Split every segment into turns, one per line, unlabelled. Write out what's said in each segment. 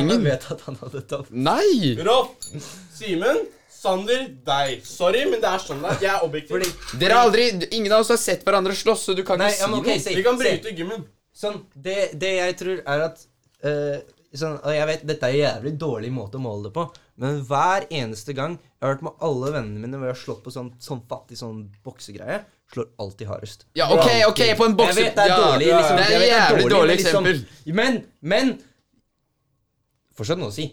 Jeg
ingen.
vet at han hadde tapt.
Nei!
Rolf, Simen, Sander, deg. Sorry, men det er sånn det er. Jeg er objektiv.
Fordi
Dere har aldri Ingen av oss har sett hverandre slåss, så du kan
Nei,
ikke
ja,
si
men ok,
noe.
se,
Vi kan
se.
bryte gymmen.
Sånn, det, det jeg tror er at eh, sånn, Og jeg vet, dette er en jævlig dårlig måte å måle det på, men hver eneste gang jeg har vært med alle vennene mine hvor jeg har slått på sånn, sånn fattig sånn boksegreie, slår alltid hardest.
Ja, OK, ok, på en bokse...
Jeg vet det er
ja,
dårlig, liksom.
Det er
jeg
et
vet
jævlig
men
dårlig
liksom-
eksempel.
Men, men Fortsatt noe å si.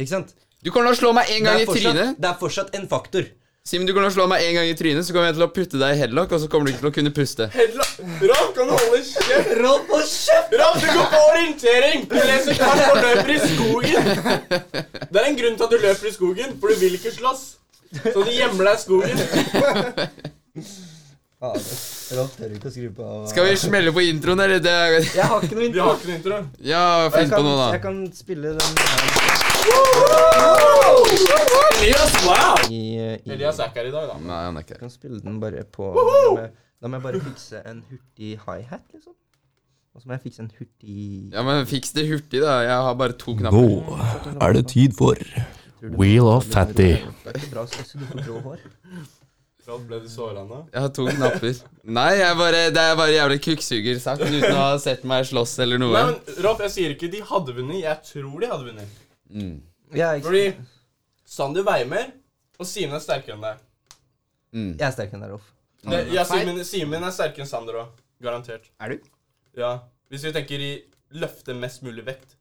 Ikke sant?
Du kommer til å slå meg en gang
det,
i
er fortsatt,
trynet.
det er fortsatt en faktor.
Simen, du kommer til å slå meg en gang i trynet, så kommer jeg til å putte deg i headlock, og så kommer du ikke til å kunne puste.
Hedla. Rolf, kan du holde kjeft?
Rolf, hold kjeft!
Rolf, du går på orientering! Du leser kart og løper i skogen. Det er en grunn til at du løper i skogen, for du vil ikke slåss. Så du gjemmer deg i skogen.
Rolf tør ikke å skru på.
Skal vi smelle på introen, eller? Det er,
Jeg har ikke noe
Vi har ikke noe intro.
ja, finn på noe,
Jeg
da.
kan spille den her
Elias, wow!
i, i
Elias er ikke her i dag, da.
Nei, han er ikke
Jeg
her.
kan spille den bare på da må jeg- Da må jeg bare fikse en hurtig hi-hat, liksom. Og så må jeg fikse en hurtig
Ja, men fiks det hurtig, da. Jeg har bare to knapper.
er det tid for Wheel of Fatty.
Det er ikke bra så du får grå hår.
Rolf, ble du såra nå?
Jeg har to knapper. Nei, jeg bare, det er bare jævlig kukksugersagt uten å ha sett meg slåss eller noe.
Nei, men Rolf, jeg sier ikke de hadde vunnet. Jeg tror de hadde vunnet.
Ja, ikke
Fordi Sander veier mer, og Simen er sterkere enn deg.
Jeg er sterkere enn deg, Rolf.
Det, ja, Simen, Simen er sterkere enn Sander òg. Garantert.
Er du?
Ja. Hvis vi tenker i løfte mest mulig vekt.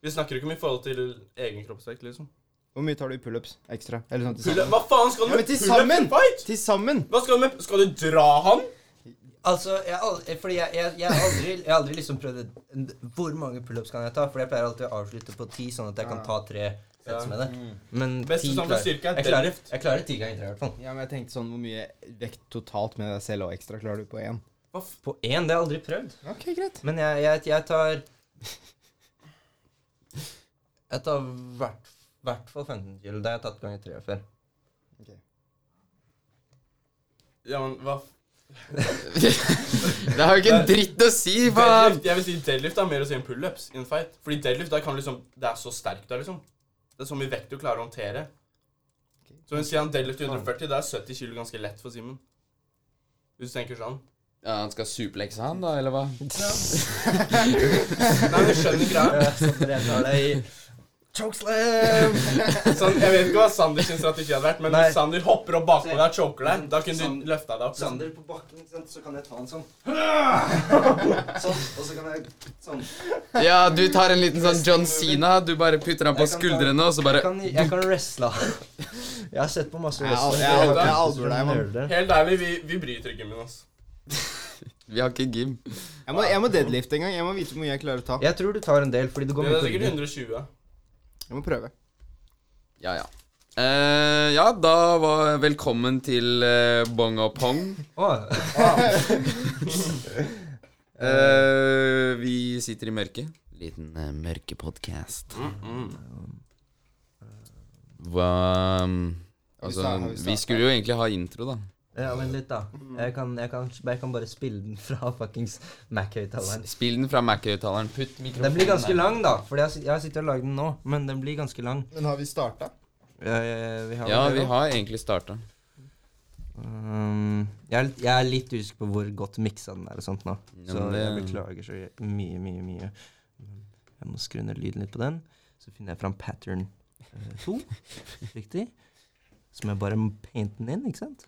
Vi snakker ikke om i forhold til egen kroppsvekt, liksom.
Hvor mye tar du i pullups ekstra? Eller sånn til
Pull
sammen?
Hva faen skal du
Ja, men
med
til
pull-up
sammen!
fight?
Til sammen!
Hva skal du med Skal du dra han?
Altså, jeg, har aldri, fordi jeg, jeg, jeg, har aldri, jeg har aldri liksom prøvd et- Hvor mange pullups kan jeg ta? For jeg pleier alltid å avslutte på ti, sånn at jeg kan ta tre sets
Ja.
med det. Men
Beste
ti
stand for
klarer
styrke er
jeg. Klarer,
deadlift.
jeg klarer ti ganger tre, i hvert fall.
Ja, men jeg tenkte sånn, Hvor mye vekt totalt med deg selv og ekstra klarer du på én?
På én, det har jeg aldri prøvd.
Ok, greit.
Men jeg, jeg, jeg tar Jeg tar hvert hvert fall 15 kilo. Det har jeg tatt ganger tre før.
Ja, men hva
Det har jo ikke en dritt å si, faen!
Deadlift, jeg vil si deadlift er mer å si enn pullups i en fight. Fordi deadlift, da kan du liksom Det er så sterkt der, liksom. Det er så mye vekt du klarer å håndtere. Så hvis han deadlift i 140, da er 70 kilo ganske lett for Simen. Hvis du tenker sånn.
Ja, han skal suplekse han, da, eller hva?
Nei, men du skjønner greia.
Så jeg tar det i
Chokeslam!
Sånn, jeg vet ikke hva Sander sin strategi hadde vært, men
Nei.
hvis Sander hopper opp bakpå deg og choker deg, da kunne du løfta deg opp. Liksom.
Sander på bakken, ikke sant? så kan jeg ta en sånn. Sånn, og så kan jeg sånn.
Ja, du tar en liten sånn John Sina. Du bare putter han på
Jeg kan ta-
skuldrene, og så
Jeg
bare
kan, jeg kan wrestle. Jeg har sett på masse
Jeg al-
wrestling.
jeg
al- jeg
alvorer deg, mann.
Nerder.
Helt ærlig, vi, vi bryter ikke gymmen, ass.
Vi har ikke gym.
Jeg må, jeg må deadlifte en gang. Jeg må vite hvor mye jeg klarer å ta.
Jeg tror du tar en del, fordi det går
Det
mye
er
på
sikkert
ryggen.
120.
Jeg må prøve.
Ja, ja. Eh, ja, da var velkommen til eh, Bong og Pong.
Å,
Eh, vi sitter i mørket. Liten uh, mørkepodkast. Hva um, Altså,
Har vi startet- har vi
vi
startet?
skulle jo egentlig ha intro, da.
ja, men litt, da. Jeg kan, jeg, kan, jeg kan bare spille den fra fuckings Mac-høyttaleren.
Spill den fra Mac-høyttaleren. Putt mikrofonen
Den blir ganske
der.
lang, da. For jeg, sit- jeg sitter og lager den nå, men den blir ganske lang. Eh,
Men har vi starta?
Jeg,
Ja, vi har egentlig starta.
Um, jeg, er litt- jeg er litt usikker på hvor godt miksa den er og sånt nå.
Ja,
Så
men eh, det-
jeg beklager så mye, mye, mye. Men Jeg må skru ned lyden litt på den. Så finner jeg fram pattern 2. Riktig. Så må jeg bare paint den inn, ikke sant?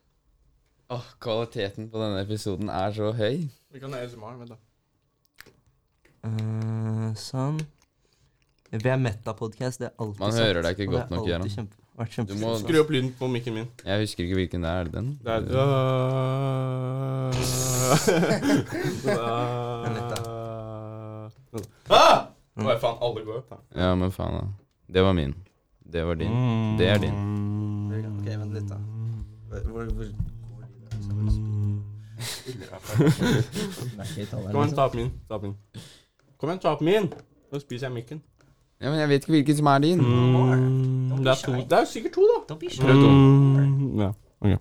Åh, Kvaliteten på denne episoden er så høy.
Vi kan ASMR, vent da.
Eh, sånn. Vi er Meta-podkast, det er alltid
Man
sant,
hører deg
og
ikke
det
godt
er
nok,
alltid
Gøran.
kjempe- vært kjempe-
Du må
Skru opp lyden på mikken min.
Jeg husker ikke hvilken det er. er. det Den?
Det er Ah! Hva faen, alle går opp, da.
Ja, men faen, da. Det var min. Det var din.
Mm.
Det er din.
Ok, vent litt, da. Hvor, hvor,
Kom igjen, ta opp min. Ta opp min. Kom igjen, ta opp min! Nå spiser jeg mikken.
Ja, men jeg vet ikke hvilken som er din.
Mm. Det er to. Det er sikkert to, da.
Prøv to.
Ja, ok.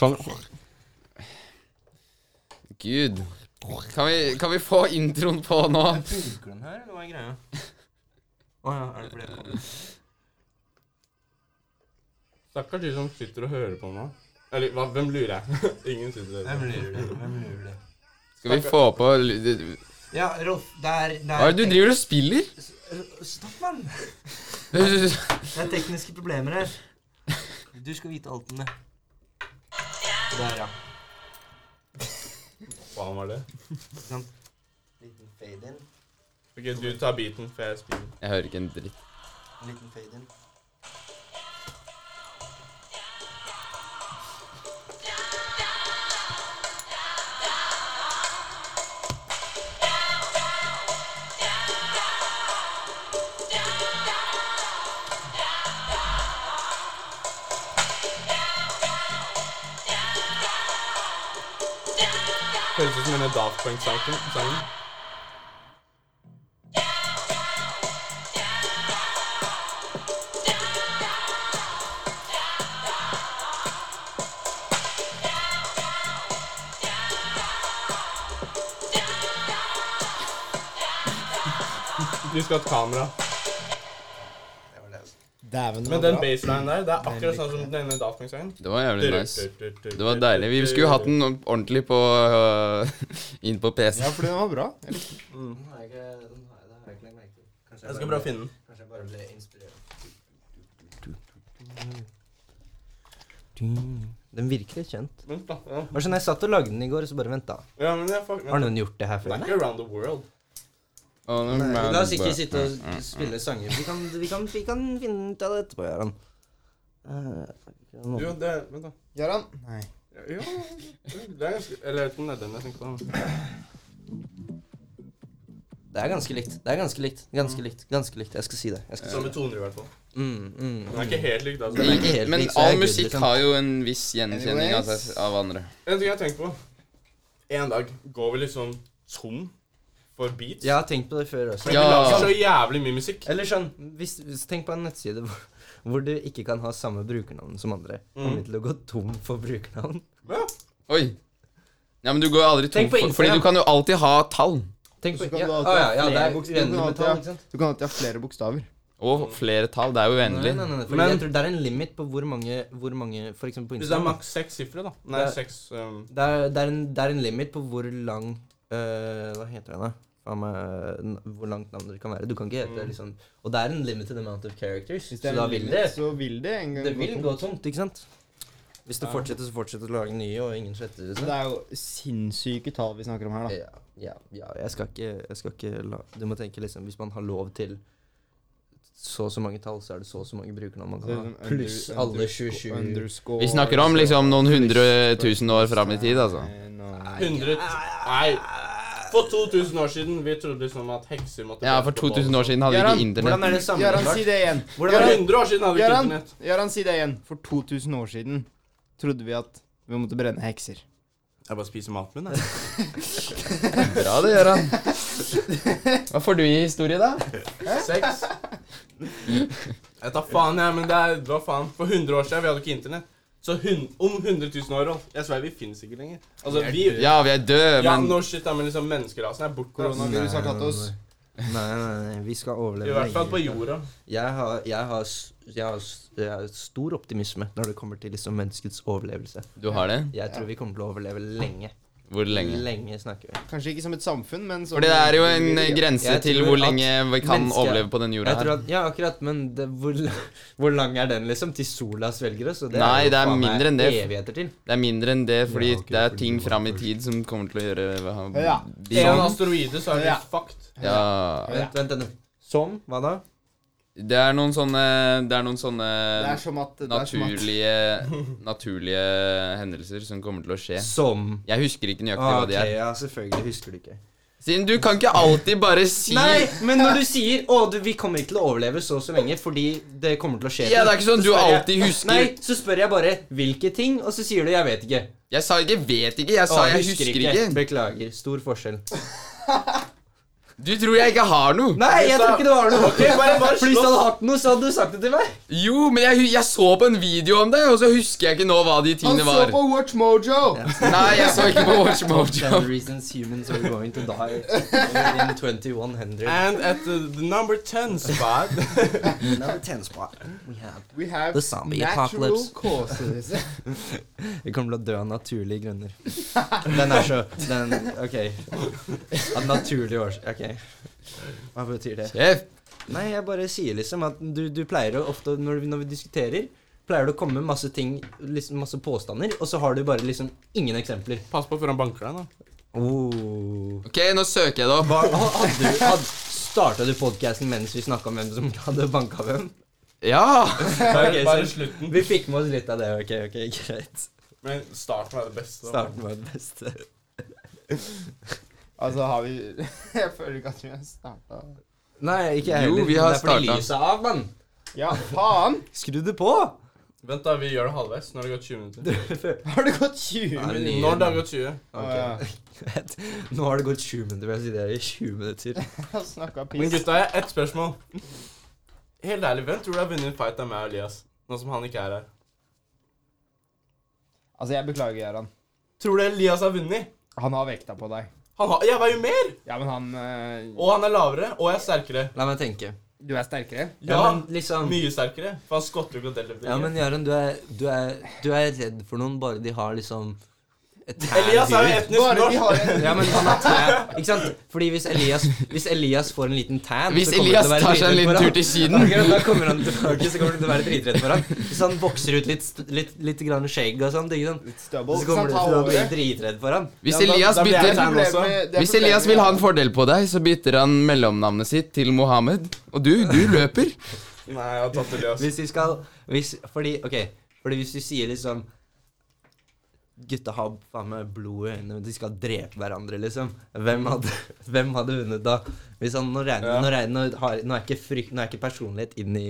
Sånn.
Gud. Kan vi, kan vi få introen på nå?
Funker den her, eller hva er greia? Å ja, er det fordi jeg kom?
Stakkars de som sitter og hører på nå. Eller hva, hvem lurer jeg? Ingen sitter og
Hvem
hører på.
lurer det? Hvem lurer det?
Skal vi få på l-
Ja, Rolf, det er det
Hva er det du driver og spiller?
driver Stopp, mann!
Hva
Det er tekniske problemer her. Du skal vite alt om det. Der, ja.
Faen var det?
Ikke sant? Liten fade in.
Ok, du tar beaten, for jeg spiller.
Jeg hører ikke en dritt.
Liten fade in.
Høres ut som en Daft Punk-sangen. Du skal ha et kamera.
Det var det. altså.
Dæven,
Men den baselinen der, det er akkurat sånn som denne Daft Punk-sangen.
Det var jævlig nice. Det var deilig. Vi skulle jo hatt den ordentlig på øh, inn på PC.
Ja, for den var bra. Jeg likte den.
Den har jeg ikke den har jeg, den har jeg ikke lagt merke til. Kanskje
Jeg skal
bare
prøve å finne den.
ble- Kanskje jeg bare ble inspirert. Den virker litt kjent.
Vent, da. Ja.
Det var sånn, Jeg satt og lagde den i går, så bare vent, da.
Ja, men jeg fuck,
Har
men,
noen gjort det her
det
før?
er ikke around the world.
Og nå-
La oss ikke sitte og spille sanger. Vi kan, vi kan, vi kan finne ut av det etterpå, Eh, Jarand.
Jo, det er, vent da.
Gjør han? Nei.
Ja, ja, det er ganske, eller jeg vet ikke om det er den jeg tenkte på. da.
Det er ganske likt. Det er ganske likt. Ganske litt, ganske likt. Jeg skal si det. Jeg skal si
Som med 200 i hvert fall.
det. Mm, mm.
Den er ikke helt lik, da. så-
Den er ikke helt
Men
lik, så jeg
all
googler
musikk
sånn.
har jo en viss gjenkjenning av, seg, av andre.
En ting jeg har tenkt på. En dag går vi liksom tom for beats.
Jeg har tenkt på det før også.
Men
Ja.
vi lager så jævlig mye musikk.
Eller sånn hvis, hvis, Tenk på en nettside hvor, hvor du ikke kan ha samme brukernavn som andre. Kommer vi til å gå tom for brukernavn?
Ja.
Oi. Ja, men du går aldri tom
Tenk på
for Fordi
Instagram.
du kan jo alltid ha tall.
Tenk
Så
på
kan
ja,
du
å,
alltid
ja,
ha
ja, det
flere
er
bokstaver. Du
uendelig
kan
med tall,
alltid
ikke
ha-
sant?
du kan alltid ha flere bokstaver.
Og flere tall. Det er jo
Nei, nei,
uendelig.
nei, nei, fordi
Men-
jeg tror det er en limit på hvor mange, hvor mange for eksempel på
Hvis det er
Instagram.
maks seks sifre, da. Nei,
Det-
seks um,
Det er, det, er en, det er en limit på hvor lang øh, Hva heter den, da? Faen meg, n- Hvor langt navnet ditt kan være. Du kan ikke hete liksom Og det er en limited amount of characters.
Hvis det
så
er
da
en
vil
limit,
det
så vil det en gang
Det
gå
vil
tom.
gå tomt, ikke sant? Hvis det fortsetter, så fortsetter du å lage nye, og ingen sletter det.
Det er jo sinnssyke tall vi snakker om her, da.
Ja, ja, ja, jeg skal ikke, jeg skal ikke la, Du må tenke liksom Hvis man har lov til så og så mange tall, så er det så og så mange brukernavn man
Så det er
kan ha.
sånn
Pluss
under-
alle
underscore-
27
underscore-
Vi snakker om liksom noen hundre tusen år fram i tid, altså.
Nei, nå-
100 Nei. For 2000 år siden vi trodde liksom at hekser måtte
Ja, for 2000 år siden hadde vi ikke
Gøran,
Hvordan
internett.
er det
Gøran, si
sammenlagt?
det igjen.
Hvordan
sånn. For
er det
100 år siden hadde vi ikke
Gøran,
internett.
Gøran, si det igjen. For 2000 år siden trodde vi at vi måtte brenne hekser.
Jeg bare spiser maten min, jeg.
Bra det, Gøran. Hva får du i historie, da?
Seks. Jeg tar faen, jeg, men det er Hva faen? For 100 år siden vi hadde ikke internett. Så hun, om 100 000 år, Rolf, jeg sverger, vi finnes ikke lenger. Altså, vi
Ja, vi er døde,
Ja,
men
no shit, da, men liksom menneskerasen er borte. altså.
Koronavirus har tatt oss.
Nei, nei, nei, vi skal overleve.
I hvert fall
lenge.
på jorda.
Jeg har, jeg har, s- jeg har, s- jeg har stor optimisme når det kommer til liksom menneskets overlevelse.
du har det?
Jeg tror vi kommer til å overleve lenge.
Hvor lenge?
snakker vi.
Kanskje ikke som et samfunn, men som
Fordi det er jo en eh, grense
Jeg
til
tror
hvor
at
lenge vi kan
mennesker-
overleve på den jorda
Jeg tror
her.
at, ja, akkurat, men det, hvor, hvor lang er den, liksom? Til sola svelger oss? og
Nei,
jo
det er
faen meg
mindre enn det.
Evigheter til.
Det er mindre enn det, fordi
Ja, ok,
det er
fordi
ting
du var
fram i tid som kommer til å gjøre
Ja.
hva-
En
Ja.
asteroide, så er vi
Ja.
fucked.
ja.
Vent, vent, vent. Som? Hva da?
Det er noen sånne Det er noen
Det er
sånne
som at det er som at-
naturlige Naturlige hendelser som kommer til å skje.
Som.
Jeg husker ikke nøyaktig
Ah,
hva
ok,
de er.
ja, selvfølgelig husker du ikke.
Siden du kan ikke alltid bare si
Nei, men når du sier 'Å, du, vi kommer ikke til å overleve så og så lenge', fordi det kommer til å skje
Ja, det er ikke sånn
Så
du
spør jeg-
alltid husker.
Nei, så spør jeg bare 'hvilke ting', og så sier du 'jeg vet ikke'.
Jeg sa ikke 'vet ikke', jeg sa
Å,
'jeg husker ikke'.
Beklager. Stor forskjell.
Du tror jeg ikke har noe?
Nei, jeg tror ikke det var noe.
Ok, bare- bare
For hvis du
slåss.
hadde hatt noe, så hadde du sagt det til meg.
Jo, men jeg, jeg så på en video om det, og så husker jeg ikke nå hva de
Han
tingene
så
var.
på Watch Mojo!
Nei, jeg så ikke på Watch Mojo.
Seven reasons humans are going to die in 2100.
And at the, the number 10 spot
Another 10 spot we have.
We have
The zombie
natural
apocalypse.
causes.
Vi kommer til å dø av naturlige grunner. Den er så Den OK. Av naturlige årsaker. OK. Hva betyr det?
Kjeft.
Nei, jeg bare sier liksom at du, du pleier å ofte når, vi- når vi diskuterer Pleier du å komme med masse ting, liksom masse påstander, og så har du bare liksom ingen eksempler.
Pass på før han banker deg, da.
Oh.
Ok, nå søker jeg det opp.
Hadde du, had, starta du podkasten mens vi snakka om hvem som hadde banka hvem?
Ja!
Bare,
Ok,
bare
så-
slutten.
Vi fikk med oss litt av det. Ok, ok, greit.
Men starten er det beste. da.
Starten var det beste.
Altså, har vi Jeg føler ikke at vi har starta
Nei, ikke jeg
Jo,
heller.
vi har
det er fordi
starta.
lyset er av, mann.
Ja, faen!
Skru det på!
Vent, da. Vi gjør det halvveis når det går 20 minutter.
Har det gått 20
Nei,
minutter?
men-
Når det har gått 20.
Å,
Ok, greit. Nå har det gått 20 minutter. vil Jeg si det er i 20 minutter.
Jeg har snakka
Men
piss.
gutta, jeg har ett spørsmål. Helt ærlig, hvem tror du har vunnet en fight av meg og Elias? Nå som han ikke er her.
Altså, jeg beklager, Gøran.
Tror du Elias har vunnet?
Han har vekta på deg.
Han har, jeg veier jo mer!
Ja, men han eh,
Og han er lavere, og jeg er sterkere.
La meg tenke.
Du er sterkere?
Ja,
men liksom
mye sterkere. For han skotter jo ikke og deler det.
Ja, men Jaren, du er, du, er, du er redd for noen bare de har liksom et
Elias er jo
tærdyr.
etnisk
Bare vi
norsk.
har en
Ja, men han har tær, ikke sant? Fordi hvis Elias, hvis Elias får en liten tan
Hvis
så kommer det
Elias
til å være
tar seg en
dritredd
liten
for
tur
han.
til Syden
Akkurat da kommer han tilbake, så kommer han til å være dritredd for han. Hvis han vokser ut litt, st- litt, litt grann skjegg og sånt, ikke sant?
litt stubble.
så
Så
kommer
han
du
tar
til å bli
over.
dritredd for han.
Hvis
Ja, da-
Elias
da blir jeg
bytter
tan
altså.
også.
Hvis Elias vil ha en fordel på deg, så bytter han mellomnavnet sitt til Mohammed. Og du, du løper.
Nei, jeg har tatt Elias.
Altså, Hvis vi skal hvis, Fordi, ok Fordi hvis du sier liksom Gutta har faen meg blod i øynene, de skal drepe hverandre, liksom. Hvem hadde, hvem hadde vunnet da? Hvis han, nå, regner,
Ja.
nå, regner, nå, har, nå, er ikke frykt, nå er ikke personlighet inn i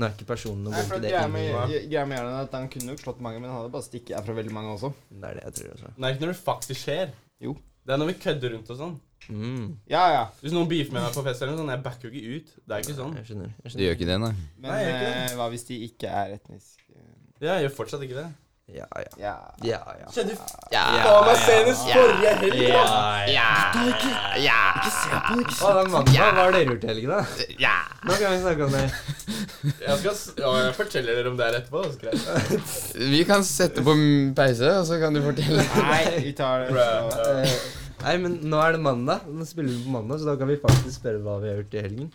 Nå er ikke personen noe vondt i det.
Greia
inn
med
i-
greia med Gøran er at han kunne nok slått mange, men han hadde bare stikket av fra veldig mange også.
Det er det jeg tror også.
Det er ikke når det faktisk skjer.
Jo.
Det er når vi kødder rundt og sånn.
Mm,
Ja, ja.
Hvis noen beefer med meg på fest eller noe sånt, jeg backer jo ikke ut. Det er ikke sånn.
jeg skjønner. Jeg
Du
skjønner.
gjør ikke det, nei.
Men
Nei, jeg gjør ikke
eh, hva hvis de ikke er etnisk eh,
Ja, jeg gjør fortsatt ikke det.
Ja, ja.
Ja.
Ja, ja.
Skjedde
Ja,
faen meg senest forrige helg,
Ja,
ass!
ja.
ja, ja,
Å, den mannen, Hva har dere gjort i helgen, da?
ja.
Nå kan vi snakke om det.
Jeg skal s- ja, jeg forteller dere om det her etterpå. det er greit.
Vi kan sette på m- pause, og så kan du fortelle.
Nei, vi tar det.
Bruh.
så-
Eh, Nei, men nå er det mandag. Nå spiller vi på mandag, så da kan vi faktisk spørre hva vi har gjort i helgen.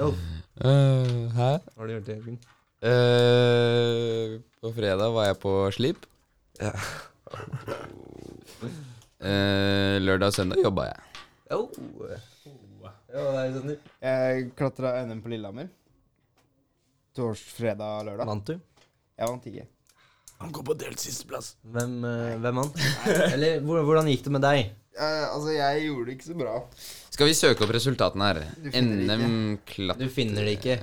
Rolf,
Øh, hæ?
hva har du gjort i helgen?
Øh, på fredag var jeg på slip.
Ja.
Øh, lørdag og søndag jobba jeg.
Oh. Ja, det er sånn.
Jeg klatra NM på Lillehammer. Torsdag, fredag, lørdag.
Vant du?
Jeg vant ikke.
Han går på delt sisteplass.
Hvem, eh, hvem vant? Eller hvor- hvordan gikk det med deg?
Eh, altså, jeg gjorde det ikke så bra.
Skal vi søke opp resultatene her?
Du finner det ikke.
NM klatt...
Du finner det ikke.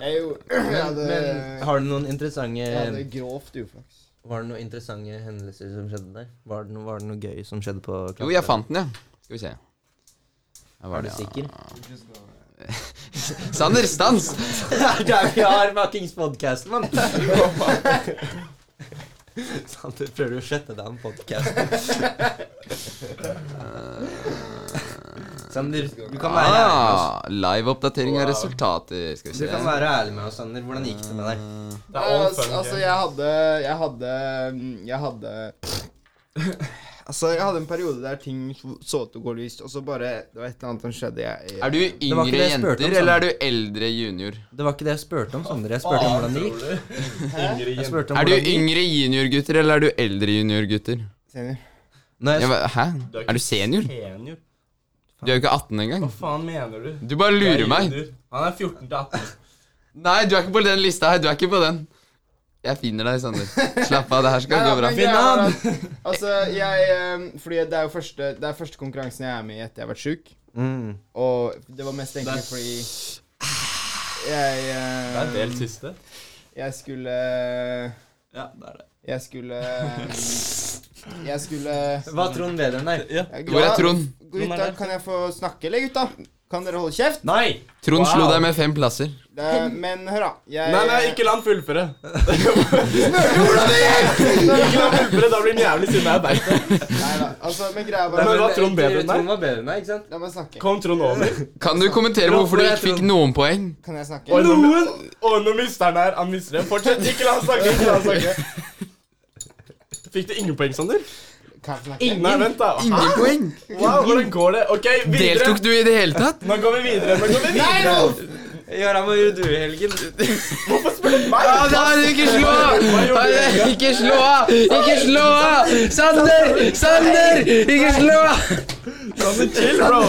Jeg gjorde Jeg hadde,
Men har du noen interessante
jeg hadde grovt uflaks.
Var det noen interessante hendelser som skjedde der? Var det noe, var det noe gøy som skjedde på
Jo, jeg fant den, ja. Skal vi se. Her
Er
var
du
det, ja.
sikker?
Sander, stans!
Det er der vi har fuckings podkasten, mann! Sant, Sånn, du prøver å skjette deg om podkasten. Sander, du kan være ærlig med oss.
Ah, Live-oppdatering av resultater. Skal vi
Du
se.
kan være ærlig med oss, Sander. Hvordan gikk det med deg?
Det er all
Eh,
fun
altså,
game.
jeg hadde Jeg hadde mm, Jeg hadde Altså, jeg hadde en periode der ting så ut til å gå lyst, og så bare Det var et eller annet som skjedde. Jeg, jeg
Er du
var ikke
yngre
det jeg spurte om,
jenter,
Sander.
eller er du eldre junior?
Det var ikke det jeg spurte om, Sander. Jeg spurte om hvordan det gikk.
Yngre
Jeg
jenter.
spurte om
Er du
hvordan det gikk.
yngre juniorgutter, eller er du eldre juniorgutter?
Senior.
Nei, jeg-
Hæ? Er du senior?
Senior?
Du er jo ikke 18 engang.
Hva faen mener du?
Du bare
Jeg
lurer
er
meg.
junior. Han er 14 til 18.
Nei, du er ikke på den lista her. Du er ikke på den. Jeg finner deg, Sander. Slapp av, det her skal
Nei,
gå
da,
bra.
men greia var at- Altså, jeg eh, Fordi det er jo første Det er første konkurransen jeg er med i etter jeg har vært sjuk.
mm.
Og det var mest egentlig fordi jeg, eh,
Det er delt siste.
jeg skulle
Ja, det er det.
Jeg skulle Jeg skulle
Hva er Trond Vederen der?
Ja,
Hvor er Trond?
Gutta, kan jeg få snakke, eller, gutta? Kan dere holde kjeft?
Nei!
Trond
Wow.
slo deg med fem plasser.
Det, men hør, da. Jeg,
Nei, nei, ikke la han fullføre. Ikke la han fullføre, Da blir han jævlig sinna. Jeg vet det.
Nei da. Altså, men greia
Nei,
var
men- var Trond bedre enn deg?
Trond var bedre enn deg, ikke sant?
La meg snakke.
Kom Trond over.
Kan du kommentere
Trond,
hvorfor du
jeg
ikke fikk
tror-
noen poeng?
Kan jeg snakke?
Og noen Og nå mister han her. Han mister en. Fortsett. Ikke la han snakke. Ikke la han snakke. Fikk du ingen poeng, Sander?
Kan jeg snakke?
Nei, vent, da.
Ingen poeng?
Wow, hvordan går det? Ok, videre.
Deltok du i det hele tatt?
Nå går vi videre. Nå går vi videre.
Gjøran, hva gjorde du i helgen?
Hvorfor spør du meg?
Ja, da, ikke slå av!
Hva gjorde du?
Ja, Ikke slå av! Ikke slå av! Sander! Sander! Ikke slå av!
Sander, chill, bro.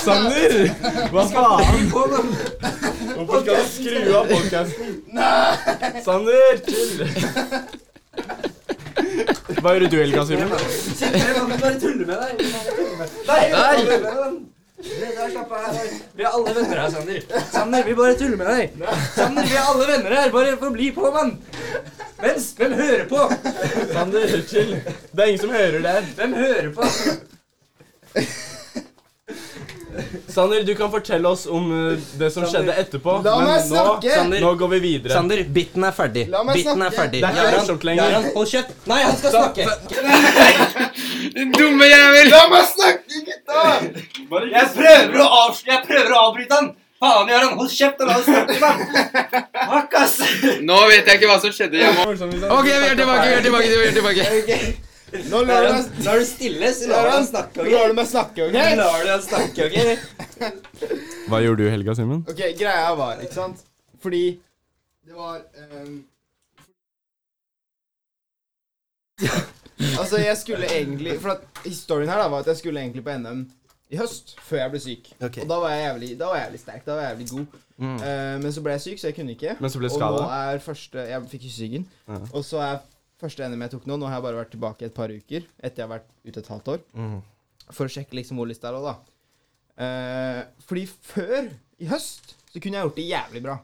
Sander, hva faen? Hvorfor skal du skru av podcasten? Sander, chill. Hva gjør du i helga, Simen?
Bare tulle med deg.
Nei!
Vi er alle venner her, Sander. Sander, vi bare tuller med deg. Sander, vi er alle venner her. Bare forbli på, mann. Hvem, hvem hører på?
Sander, chill. Det er ingen som hører det her.
Hvem hører på?
Sander, du kan fortelle oss om eh, det som
Sander,
skjedde etterpå.
la
men
meg
nå,
snakke!
Sander, Nå går vi videre.
Sander, biten er ferdig.
La meg
Biten er
snakke.
ferdig.
Det er ikke
Gjøran,
morsomt lenger.
Gjøran, hold kjeft. Nei, han skal snakke.
Din dumme jævel!
La meg snakke, gutta!
Jeg prøver å, avsl- jeg prøver å avbryte han! Faen, Jarand, hold kjeft og la oss snakke, mann! Fuck, ass!
Nå vet jeg ikke hva som skjedde. Jeg må... Ok, vi er tilbake, vi er tilbake. vi er tilbake.
Nå lar du
Jarand,
meg,
Når du stille, så lar du han snakke, ok?
lar du meg snakke,
Nå
OK?
Lar du han snakke, ok?
Hva gjorde du i helga, Simen?
Ok, Greia var, ikke sant Fordi det var ehm, Altså, jeg skulle egentlig For at historien her da var at jeg skulle egentlig på NM i høst, før jeg ble syk.
Ok. Mm.
Og da var jeg jævlig, da var jeg jævlig sterk. Da var jeg jævlig god. Eh, men så ble jeg syk, så jeg kunne ikke.
Mm. Men så ble du
og nå
skadet.
er første Jeg fikk hyssygen. Og så er første NM jeg tok nå. Nå har jeg bare vært tilbake et par uker etter jeg har vært ute et halvt år.
Mm.
For å sjekke liksom hvor lista er òg, da. Eh, fordi før, i høst, så kunne jeg gjort det jævlig bra.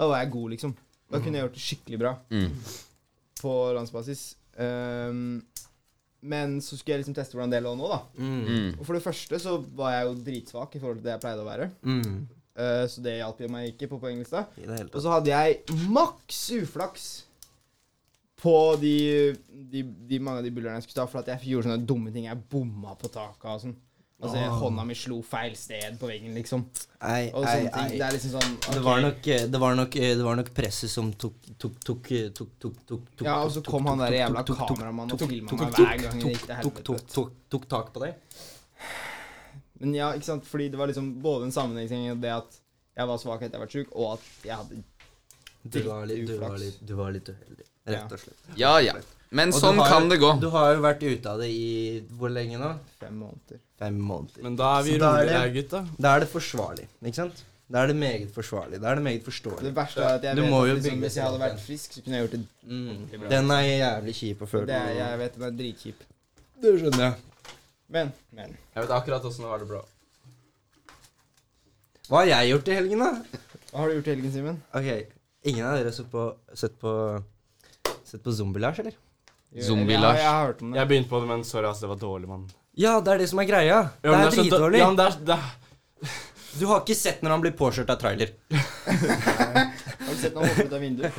Da var jeg god, liksom. Da kunne jeg gjort det skikkelig bra.
Mm,
På landsbasis. Ehm, men så skulle jeg liksom teste hvordan det lå nå, da.
Mm.
mm.
Og for det første så var jeg jo dritsvak i forhold til det jeg pleide å være.
Mm.
Eh, så det hjalp jo meg ikke på poenglista. Og så hadde jeg maks uflaks på de, de, de mange av de bullerne jeg skulle ta, for at jeg gjorde sånne dumme ting. Jeg bomma på taket og sånn. Altså, hånda mi slo feil sted på veggen, liksom.
Ei,
Og
Ah. ei,
sånne ting. Det
ei.
er liksom sånn
Det
ok.
var nok, eh, det var nok, eh, det var nok presset som tok, tok, tok, eh, tok, tok, tok, tok
Ja, og så kom han der jævla
tok, tok, tok,
kameramannen og
tok,
filma
tok,
meg
tok,
hver gang det gikk
tok,
til
tok, tok,
helvete.
tok, tok tak på deg?
Men ja, ikke sant, fordi det var liksom både en sammenheng i det at jeg var svak etter jeg var sjuk, og at jeg hadde
Du var litt, du var
Uflaks.
litt, du var litt uheldig, rett og slett.
Ja, ja. Men
Og du
sånn
har-
kan det gå.
Du har jo vært ute av det i hvor lenge nå?
fem måneder.
Fem måneder.
Men da er vi
Så da er
rolige, her, gutta.
Da er det forsvarlig, ikke sant? Da er det meget forsvarlig. Da er det meget
Det
forståelig.
verste er at jeg
Du
vet
må
at
jo
liksom,
bygge
hvis jeg hadde
seg opp
vært frisk, så kunne jeg gjort det.
Mm. Den er jævlig kjip å føle.
det er, jeg vet den er dritkjip.
Det skjønner jeg.
Men, men.
Jeg vet akkurat åssen det var det, bro.
Hva har jeg gjort i helgen, da?
Hva har du gjort i helgen, Simen?
Ok, Ingen av dere har sett på, sett på, sett på Zombie-Lars, eller?
Gjør-
Zombie
Ja,
Lars.
Jeg har hørt om det.
Jeg begynte på det, men sorry, ass, det var dårlig, mann.
Ja, det er det som er greia.
Ja,
det
men
er
sånn-
dritdårlig.
Ja, men det er, det er,
Du har ikke sett når han blir påkjørt av trailer.
Har du sett han hoppe ut av vinduet?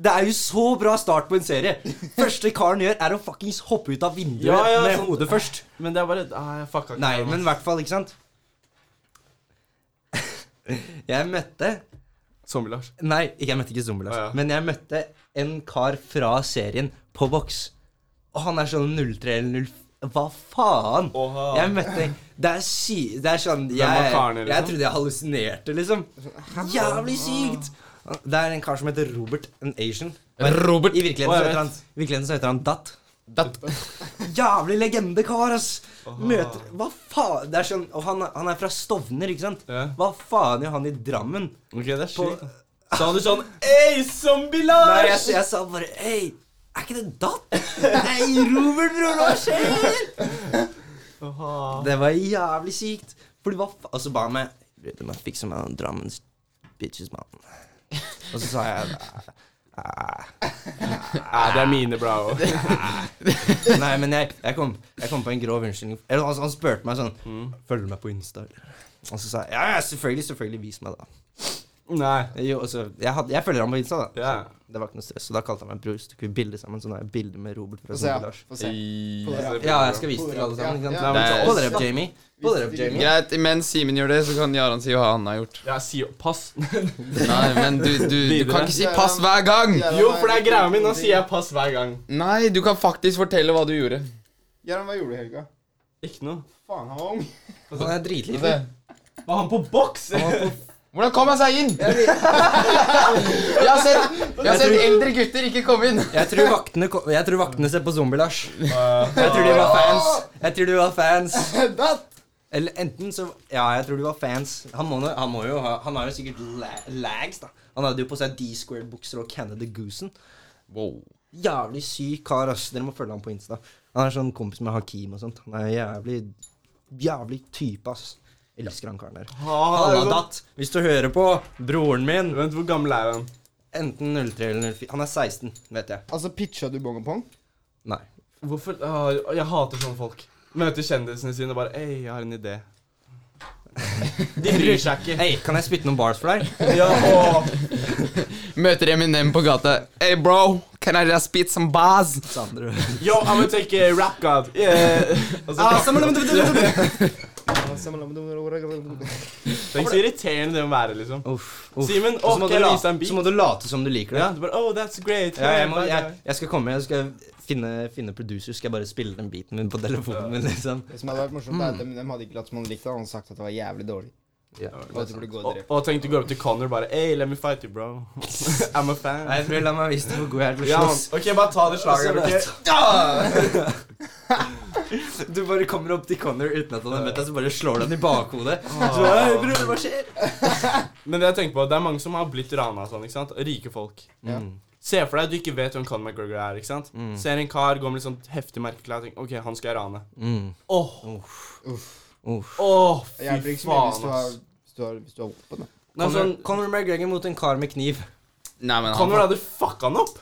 Det er jo så bra start på en serie. Første karen gjør, er å fuckings hoppe ut av vinduet
Ja, ja,
med
sånn-
hodet først.
men det er bare ah, Jeg fucka ikke.
Nei,
med det,
men i
mann.
hvert fall, ikke sant? Jeg møtte
Zombie-Lars.
Nei, ikke- jeg møtte ikke Zombie Lars.
Å, ja.
Men jeg møtte en kar fra serien på boks. Og han er sånn 03 eller 05 Hva faen?
Oha.
Jeg møtte Det er sy... Det er sånn jeg,
var karen, liksom?
jeg trodde jeg hallusinerte, liksom. Jævlig sykt! Det er en kar som heter Robert, en asian.
Robert.
I virkeligheten,
Å, jeg
så, heter han,
vet.
I virkeligheten så heter han Dat. Jævlig legendekar, ass! Møter Hva faen? Det er sånn, og han, han er fra Stovner, ikke sant?
Ja.
Hva faen gjør han i Drammen?
Ok, det er
På-
sjukt. Sa du sånn Ei, Zombie-Lars!
Nei, jeg, jeg sa bare Hei, er ikke det datt? Hei, Robert, bror, hva skjer? Det var jævlig sykt. Fordi hva fa... Og så ba han meg Du må fikse meg noen Drammens bitches, mann. Og så sa jeg "Nei,
Nei, det er mine bra òg.
Nei, men jeg, jeg, kom, jeg kom på en grov unnskyldning. Eller, altså, han spurte meg sånn Følger du meg på Insta? eller?» Og så sa jeg ja, ja, selvfølgelig, selvfølgelig, vis meg, da.
Nei.
Jo, altså, jeg, hadde, jeg følger ham på Insta, da.
Ja.
Så det var ikke noe stress. Så da kalte han meg bror. Så tok vi bilde sammen. Så nå har jeg bilde med Robert fra
Få se, ja.
Lars.
Få se.
Ja, jeg skal vise det til alle sammen. ikke
Ja,
sant?
ja.
Nei, men Hold dere opp, Jamie. Hold dere opp, Jamie.
Greit, imens Simen gjør det, så kan Jaran si hva han har gjort.
Ja, si pass.
Nei, men du, du, du kan ikke si pass hver gang!
Jo, for det er greia mi. Nå sier jeg pass hver gang.
Nei, du kan faktisk fortelle hva du gjorde.
Jaran, hva gjorde du i helga?
Ikke noe.
Faen, han var ung.
Han Sånn er dritliten.
Var han på boks?
Hvordan kom han seg inn? Jeg har sett, jeg har sett eldre gutter ikke komme inn.
Jeg tror vaktene, ko- jeg tror vaktene ser på Zombie-Lars. Jeg tror de var fans. Jeg tror de var fans. Eller enten så Ja, jeg tror de var fans. Han må, nå- han må jo ha Han har jo sikkert la, lags, da. Han hadde jo på seg D-squared-bukser og Canada Goosen.
Wow.
Jævlig syk kar, ass. Dere må følge ham på Insta. Han er sånn kompis med Hakim og sånt. Han er jævlig Jævlig type, ass. Elsker han karen der. Halla, datt. Hvis du hører på, broren min
Vent, hvor gammel er han?
Enten 03 eller 04 Han er 16, vet jeg.
Altså, pitcha du bong og pong?
Nei.
Hvorfor ah, Jeg hater sånne folk. Møter kjendisene sine og bare Ei, jeg har en idé. De bryr seg ikke.
Hei, kan jeg spytte noen bars for deg?
Ja, åh.
Møter Eminem på gata. Hey bro, can I just spit some bars?
Sandro.
Yo, I'm gonna take a rap god. Yeah. Altså, Tenk så irriterende det må være, liksom.
Uff, uff.
Simen,
Og så må
ok,
du
jeg
la-
viser en bit.
Så må du late som du liker det.
Ja, du bare, oh, that's great.
Ja, jeg, må,
Bye,
jeg,
bye.
jeg skal komme jeg skal finne, finne producer, skal jeg bare spille den biten min på telefonen min, liksom.
Det som hadde vært morsomt, er at de, de hadde ikke latt som han likte det, han hadde sagt at det var jævlig dårlig. Og at de burde gå og
Og,
drepe.
og tenk du går opp til Connor bare Hey, let me fight you, bro. I'm a fan.
Nei, for la meg vise deg hvor god jeg er til
Ja,
å
man.
slåss.
ok, bare ta det slaget.
Altså,
ok?
Du bare kommer opp til Connor uten at han har møtt deg, så bare slår du han i bakhodet. Så bare, «Hei, bror, hva skjer?
Men det jeg tenker på, det er mange som har blitt rana og sånn, ikke sant? Rike folk.
Mm,
Ja.
Se for deg at du ikke vet hvem Conor McGregor er. ikke sant? Ser en kar, går med litt sånn heftig merkeklær og tenker OK, han skal jeg rane.
Mm.
Åh,
Uff.
åh,
Det hjelper
fy
ikke så mye
faen,
hvis du har,
ass.
hvis du har, hvis du har våpen, da.
Nei,
Connor,
sånn,
Connor McGregor mot en kar med kniv.
Nei, men han,
Conor hadde fucka han opp.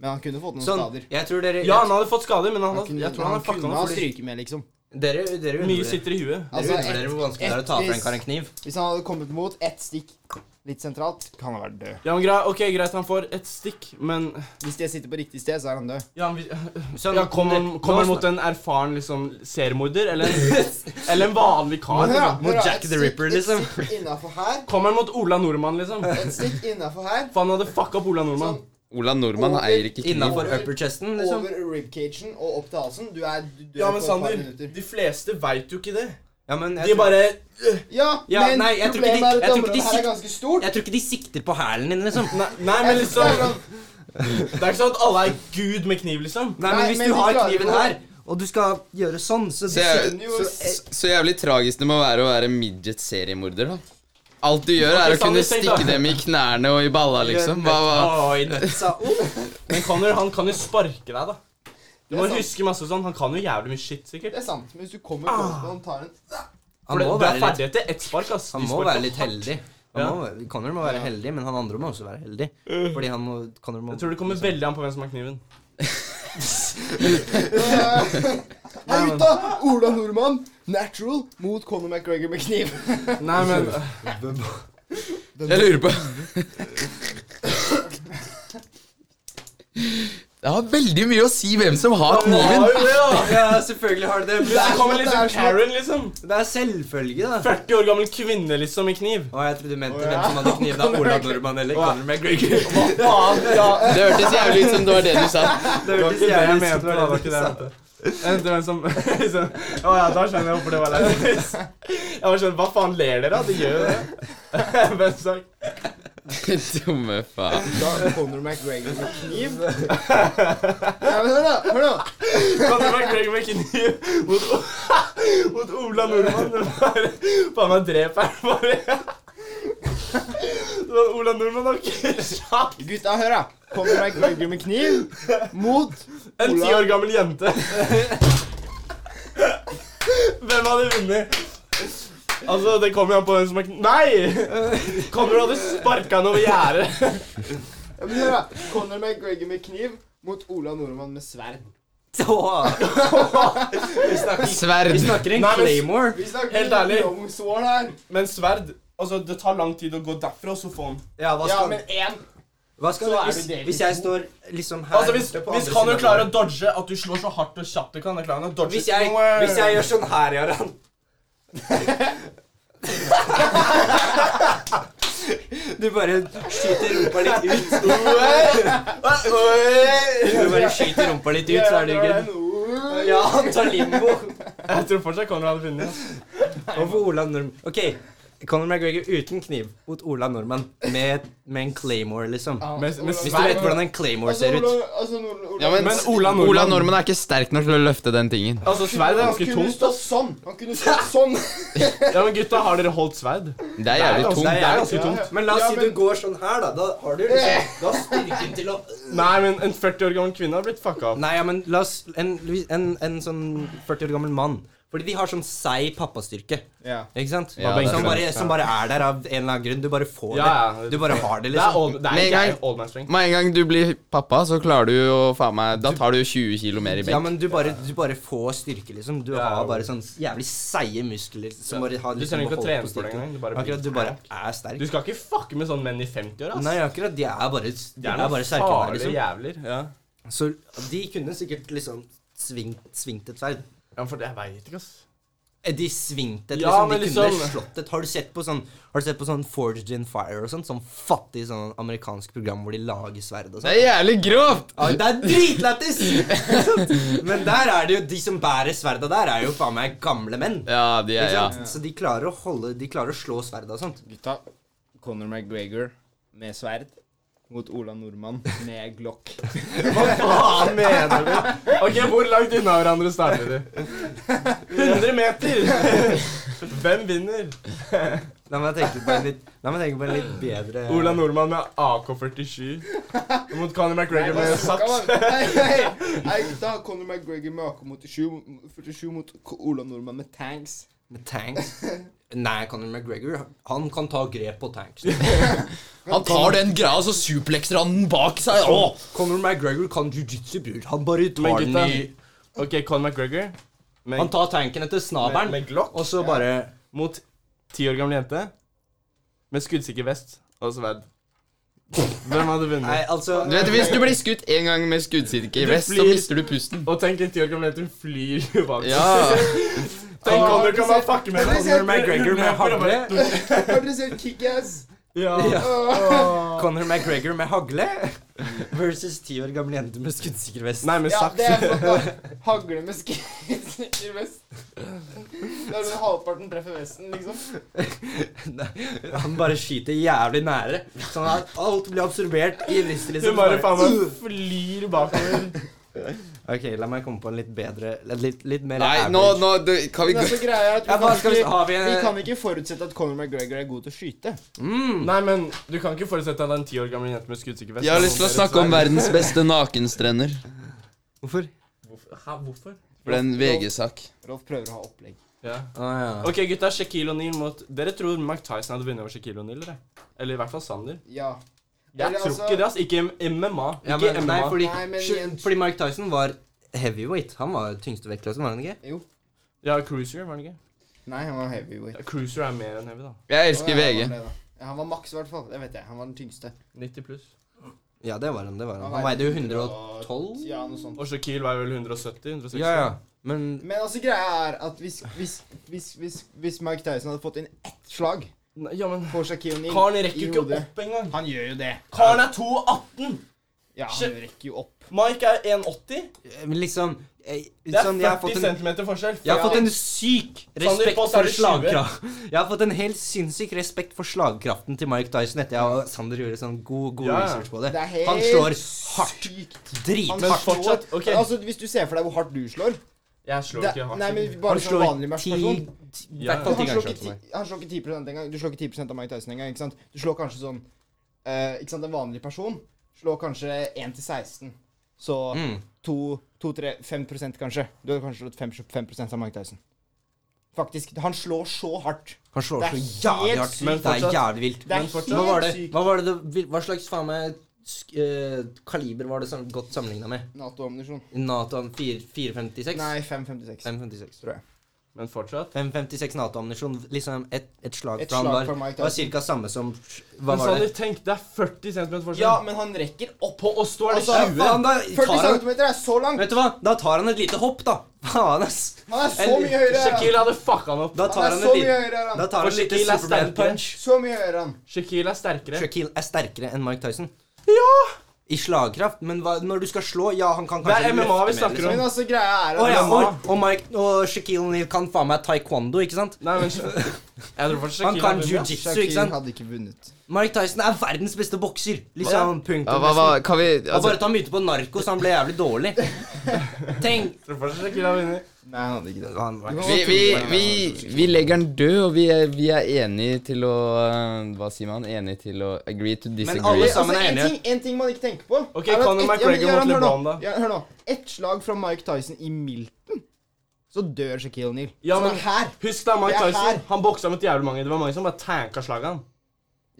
Men han kunne fått noen
Sånn,
skader.
jeg tror dere
Ja, han hadde fått skader, men han,
Han
hadde-
kunne,
jeg tror han hadde fucka
kunne
han
ha
opp. fordi
stryket med, liksom.
Dere, dere
Mye
undrer
sitter i huet.
dere
Altså,
undrer
et-
hvor vanskelig det er å ta fra en kar en kniv.
Hvis han hadde kommet mot ett stikk litt sentralt, kan han være død.
Ja, men grei, ok, Greit, han får et stikk, men
Hvis det sitter på riktig sted, så er han død.
Ja, men vi-
Sånn,
ja, Kommer han
nå-
kommer han
nå-
mot en erfaren liksom, seriemorder, eller, en- eller en vanlig kar? Liksom.
mot Jack the Ripper, liksom.
Et stikk innafor her,
Kommer han mot Ola Nordmann, liksom?
et stikk innafor her.
For han hadde fucka opp Ola Nordmann.
Ola Nordmann eier ikke kniv.
Innafor upper chesten, liksom.
Over ribcagen og opp til halsen. Du er, du, du
Ja,
er
men
på et par
Sander,
minutter.
de fleste veit jo ikke det.
Ja, men jeg
De
tror-
bare øh,
Ja,
Ja,
men
nei, jeg tror ikke de-
problemet er
jeg
at
tror ikke de
området her
sikt-
er ganske stort.
Jeg tror ikke de sikter på hælen din, liksom.
Nei, nei, men liksom
sånn-
sånn-
Det er ikke sånn at alle er gud med kniv, liksom.
Nei, men
Nei,
hvis
men
du
de
har
klarer
kniven
jo-
her, og du skal gjøre sånn, så
Så, jæv-
jo-
så, så jævlig tragisk det må være å være midget-seriemorder, da. Alt du gjør, er å
Ok,
kunne
Sander, tenk da.
stikke dem i knærne og i balla, liksom. Hva, hva?
Oi, nødsa.
Men Connor, han kan jo sparke deg, da. Du
Det
må
er sant.
huske masse sånn. Han kan jo jævlig mye shit, sikkert.
Det er sant, men hvis du kommer
Ah.
på han tar en
Han
For
må
det, det er
være litt,
ferdighet til ett spark, ass.
han
De
må
sparker
være litt
hardt.
heldig. Han
Ja. Øh.
må, Connor må være heldig, men han andre må også være heldig. Fordi han må, Connor må
Jeg tror det kommer
liksom.
veldig an på hvem som har kniven.
Hei, gutta! Ola Nordmann, natural, mot Conor McGregor med kniv.
Nei, men
Jeg lurer på Det har veldig mye å si hvem som har kniven.
Ja, selvfølgelig har det det.
Det kommer
Det
liksom
er sånn-
Karen, liksom.
Det er selvfølge, da.
40 år gammel kvinne, liksom, med kniv.
Å, jeg trodde du mente hvem som hadde kniv. da Ola Nordmann eller Conor McGregor.
Faen, ja.
Det hørtes jævlig ut som det var det du sa.
Det
Det var
hørtes
ikke det jeg
jævlig
mente.
ut
Det var ikke det jeg mente. Jeg mente hvem som liksom, Å ja, da skjønner jeg hvorfor det var lættis. Jeg var sånn Hva faen ler dere av? De gjør jo det. Hvem sak?
Dumme faen.
Da er Conor McGregor med kniv. Ja, men hør, da. hør da.
Kan det være Greg McNew mot, O- mot Ola Nordmann? Det var- Faen meg drep her, bare. Det var Ola Nordmann har ikke sjans.
Gutta, hør, da. Conor McGregor med kniv mot
En ti
Ola.
år gammel jente. Hvem hadde vunnet? Altså, det kommer jo an på hvem som er kn- Nei! Conor hadde sparka han over gjerdet.
Ja, men hør da. Conor McGregor med kniv mot Ola Nordmann med sverd.
Åh. Vi snakker,
Sverd.
vi snakker en
Nei, men-
claymore.
Vi snakker
Helt ærlig.
long sword her.
Men sverd Altså, det tar lang tid å gå derfra, så få han
Ja, hva
Ja,
skal,
men én.
hva skal
så er
hvis,
det dere
hvis
to.
jeg står liksom her
Altså, hvis,
borte på
hvis
andre
han jo
siden av
klarer å
bordet.
dodge at du slår så hardt og kjapt du kan, da klarer han å dodge
hvis jeg, hvis jeg gjør sånn her, Jarand Du bare skyter rumpa litt ut. Du bare skyter rumpa litt ut, så er du good. Ja, han tar limbo.
Jeg tror fortsatt Conor hadde vunnet.
Overfor Ola Norm... Ok, Conor McGregor uten kniv mot Ola Norman med, med en claymore, liksom.
Med, med
Hvis du
sverd
vet hvordan en claymore
Altså,
ser ut.
Ola- altså, Nord- Ola-
Ja, men,
Men Ola Nordmann-
Ola Nordmann er ikke sterk nok til å løfte den tingen.
Altså, sverd er
Han
ganske
kunne
tungt.
stått sånn. Han kunne stått sånn.
Ja, men gutta, har dere holdt sverd?
Det er jævlig
Det
tungt.
er ganske
Ja, ja.
tungt. Men la oss
Ja,
si
men-
du går sånn her, da. Da har du liksom Da har styrken til å
Nei, men en 40 år gammel kvinne har blitt fucka opp.
Nei, ja, men la oss En, en, en sånn 40 år gammel mann. Fordi de har sånn seig pappastyrke.
Ja.
Ikke sant?
Ja, det er
som,
sant.
bare, som bare er der av en eller annen grunn. Du bare får
Ja, ja.
det. Du bare har det,
Det er,
liksom.
old, det er
Med
ikke
en gang-
old man strength.
Med en gang du blir pappa, så klarer du jo faen meg Da tar du 20 kilo mer i
Ja,
benk.
men du bare, du bare får styrke, liksom. Du
Ja, ja.
har bare sånn jævlig seige muskler som bare har
Du
liksom
trenger ikke å
beholdt på
trene for det
styrken.
engang. Du bare blir
Akkurat, du bare er sterk.
Du skal ikke fucke med sånne menn i 50-åra.
Nei, akkurat. De er bare, de
De
er
er noen
bare sterke der,
farlige
liksom.
jævler. Ja.
Så de kunne sikkert liksom svingt, svingt et sverd.
ja, for jeg veit ikke, ass.
Eh, De svingte et,
Ja,
liksom.
men
de kunne
liksom-
slått et. Har du sett på sånn Har du sett på sånn Forged in Fire og sånn? Sånn fattig sånn amerikansk program hvor de lager sverd og
Det
sånn.
er jævlig grovt!
Ja, det er dritlættis! Ikke sant? Men der er det jo de som bærer sverda der, er jo faen meg gamle menn.
Ja, de er,
Ikke
ja.
sant? Så de klarer å holde De klarer å slå sverda og sånt.
Gutta. Conor McGregor med sverd mot Ola Nordmann med Glock.
Hva mener du? Ok, Hvor langt unna hverandre starter de? 100 meter! Hvem vinner?
La meg tenke på en litt, la meg tenke på en litt bedre
Ola Nordmann med AK-47 mot Conor McGregor med saks.
Nei, nei, nei, da har Conor McGregor med AK-47 mot K- Ola Nordmann med tanks.
Med tanks. Nei, Conor McGregor, han kan ta grep på tanks.
Han tar den greia, og så suplekser han den bak seg. Åh!
Conor McGregor kan jiu-jitsu, bror. Han bare
Men
tar den
gutta
i
Ok, Conor McGregor med,
Han tar tanken etter
med,
snabelen,
med Glock
og så bare
mot 10 år gammel jente med skuddsikker vest og sverd. Hvem hadde
Nei,
vunnet?
altså
Du vet, Hvis du blir skutt en gang med skuddsikke i
Du
vest, så
blir-
mister du pusten.
Og tenk en 10 år gammel jente, hun flyr jo bak.
Ja.
Tenk Conor kan bare fucke med henne.
Conor McGregor med hagle.
Har dere sett Kick-Ass?
Ja.
Ja. Conor McGregor med hagle versus ti år gamle jente med skuddsikker vest.
Nei, med
Ja, det er
saks.
flott, da. Hagle med skritt i vest. Det er sånn halvparten treffer vesten, liksom.
Han bare skyter jævlig nære, sånn at alt blir absorbert i lyst,
Hun
liksom. Bare-
bare faen meg
Uh.
flyr bakover.
Ok, la meg komme på en litt bedre Litt, litt mer
Nei, nå,
average.
nå du, Kan vi
Men
gå
altså, greia er at vi,
Ja, hva
kan
skal vi
ikke-
Har vi en
vi kan ikke forutsette at Conor McGregor er god til å skyte.
mm.
Nei, men du kan ikke forutsette at det er en 10 år gammel jente med skuddsikker vest.
Jeg har lyst til å snakke om verdens beste nakenstrender.
Hvorfor?
Hæ, hvorfor?
For det er en VG-sak.
Rolf prøver å ha opplegg.
Ja.
Å ja.
Ok, gutta. Shaquille O'Neal mot Dere tror Mike Tyson hadde vunnet over Shaquille O'Neal, eller? Eller i hvert fall Sander.
Ja.
Jeg
Eller
tror
altså-
ikke det, ass. Ikke M- MMA. Ikke
ja men,
MMA.
nei, fordi,
Nei, men igjen-
fordi Mike Tyson var heavyweight. Han var tyngstevektklassen, var han ikke?
Jo.
Ja, Cruiser, var det ikke?
Nei, han var
Ja,
heavyweight.
Cruiser er mer enn heavy, da.
Jeg elsker
Å, ja,
VG.
han var det, da. Ja, Han var maks, i hvert fall. Det vet jeg. Han var den tyngste.
90 pluss.
Ja, det var han. det var Han
Han
Han veide jo
veide
112?
Ja, noe sånt.
Og Shaquille var vel 170-160.
Ja, ja. Men
Men altså, greia er at hvis, hvis, hvis, hvis, hvis Mike Tyson hadde fått inn ett slag
Nei, ja, men
på Shaquille O'Neal
Karen rekker
i
jo ikke
hodet-
opp engang.
Han gjør jo det.
Karen er 2,18.
Ja, han
Shit.
rekker jo opp.
Mike er 1,80.
eh, men liksom eh,
Det er
sånn, jeg, har
40
fått en,
cm forskjell.
jeg har
Ja.
fått en syk
Sander
respekt
Foss er
for
det 20.
slagkraft. Jeg har fått en helt sinnssyk respekt for slagkraften til Mike Dyson etter jeg og Sander gjorde sånn god, god
Ja, ja.
research på det.
Det er helt
Han slår hardt.
Sykt. Han
Drithardt.
Men fortsatt,
slår-
ok.
Altså, Hvis du ser for deg hvor hardt du slår
Jeg slår
det,
ikke hardt.
Nei, men bare
Han
som en vanlig
slår ti
matchperson.
ti- i
Ja,
hvert
Han
fall ti
slår
ganger
ikke
sånn for meg.
ti- han slår ikke 10 engang. Du slår ikke 10 av Mike Tyson engang. ikke sant? Du slår kanskje sånn eh, Ikke sant, En vanlig person slår kanskje 1 til 16. Så
Mm.
2-3-5 kanskje. Du har kanskje slått 5 av Mike Tyson. Faktisk. Han slår så hardt.
Han slår
Det
så
er helt
jævlig
sykt.
hardt.
Men
Det er
fortsatt-
jævlig vilt.
Det er
Men fortsatt-
Hva var
helt
det?
sykt.
Hva, var det, du- hva slags faen meg sk- eh, kaliber var det sam godt sammenligna med?
Nato-ammunisjon.
Nato 4- 456?
Nei, 556.
556.
Tror jeg.
Men fortsatt
556 Nato-ammunisjon. Liksom et, et slag
Et
fra
slag
han
fra
var,
Mike
var
Tyson.
ca. samme som Hva
Men
var
Sander,
det?
tenk, det er 40 cm forskjell.
Ja, men han rekker opp.
På oss står det
Altså,
20.
Faen, da
40
tar han
cm er så langt!
Vet du hva? Da tar han et lite hopp, da. Faen, ass.
Han er så mye høyere!
Shaquille hadde fucka han opp.
Da
Han
tar
er
han
så
et
mye
lite
høyere
Da
enn
tar
han.
For
han et
Shaquille
lite
er
Superman
sterkere.
punch.
Så mye høyere enn han.
Shaquille er sterkere.
Shaquille er sterkere enn Mike Tyson. Ja! I slagkraft, men hva, når du skal slå Ja, han kan
Det
kanskje
er MMA vi
løfte mer,
snakker om.
Men altså, greia er
Liksom.
at
Å, ja,
han-
og, og, Mike, og Shaquille O'Neal kan faen meg taekwondo, ikke sant?
Nei, men Jeg tror fortsatt
Han
Shaquille
kan
er bedre.
jiu-jitsu, ikke
Shaquille
sant?
hadde ikke vunnet.
Mike Tyson er verdens beste bokser. Liksom, punktum.
Ja, hva, hva,
nesten.
kan vi
Og
altså,
bare at han begynte på narko, så han ble jævlig dårlig. Tenk
Jeg tror fortsatt Shaquille er vinner.
Nei, han hadde ikke det.
Han var-
vi, vi, vi, vi legger den død, og vi er, vi er enige til å eh, Hva sier man? Enige til å agree to disagree.
alle
Altså,
sammen er
en,
enige.
ting, en ting man ikke tenker på
Ok,
er at
Conor
et- ja,
McGregor
men Göran,
mot
hør nå.
LeBron, da.
Ja, hør nå. Ett slag fra Mike Tyson i Milton, så dør Shaquille O'Neal.
Ja,
Så
men-
det er her.
Husk da, Mike
Det er
Tyson.
her.
Han boksa mot jævlig mange. Det var mange som bare tanka slaget han.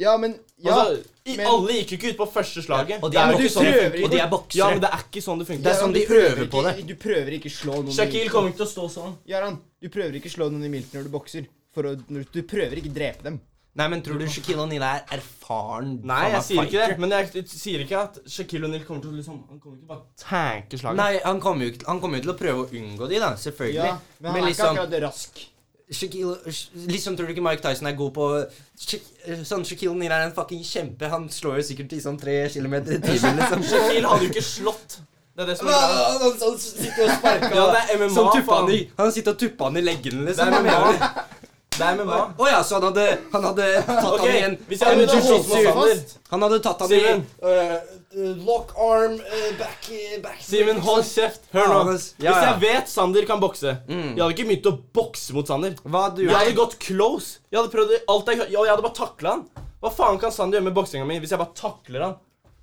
Ja, men ja,
Altså, i-
men-
Alle gikk jo ikke ut på første slaget.
Og de
Det er
er
jo ikke sånn det
prøver
boksere.
funker.
ikke.
Og de er
Ja, men
boksere.
det er ikke sånn det
Det
funker.
er
Göran,
sånn de
du prøver
øver på
ikke- Du prøver ikke slå noen i
Shaquille
Milton.
kommer ikke til å stå sånn.
Göran, du prøver ikke slå noen i Milton når du bokser. For å, når, du prøver ikke drepe dem.
Nei, men tror du Shaquille O'Neal er erfaren?
Nei,
faen
jeg
meg
sier ikke det.
fighter?
Men jeg, jeg sier ikke at Shaquille O'Neal kommer til å liksom Han kommer ikke bare tanke slaget.
Nei, han kommer jo ikke- han kommer jo til å prøve å unngå de, da. Selvfølgelig.
Ja, men han
men
er ikke
liksom
akkurat rask.
Shaquille, Sh- liksom tror du ikke Mike Tyson er god på Shaq- Sånn Shaquille O'Neal er en fucking kjempe. Han slår jo sikkert i sånn tre kilometer i timen, liksom.
Shaquille hadde jo ikke slått. Det er det som er greia.
Han sånn sitter og sparker
Ja, det er MMA,
Sånn tuppa han,
faen.
i- han sitter og tuppa han i leggene,
Det
liksom.
er
Hva
MMA.
mener du?
Det er MMA.
Å ja, så han hadde, han hadde tatt
Ok,
han i en
hvis jeg
en
hadde holdt
jiu-jitsu-
meg fast
Han hadde tatt han
Simen.
i eh, eh, Lock arm, eh, back, eh, back
Simen, hold kjeft. Hør nå.
Ja, men-
Hvis
ja, ja.
jeg vet Sander kan bokse Jeg hadde ikke begynt å bokse mot Sander.
Hva du
Jeg hadde gått close. Jeg hadde prøvd alt jeg, og jeg hadde bare takla han. Hva faen kan Sander gjøre med boksinga mi hvis jeg bare takler han?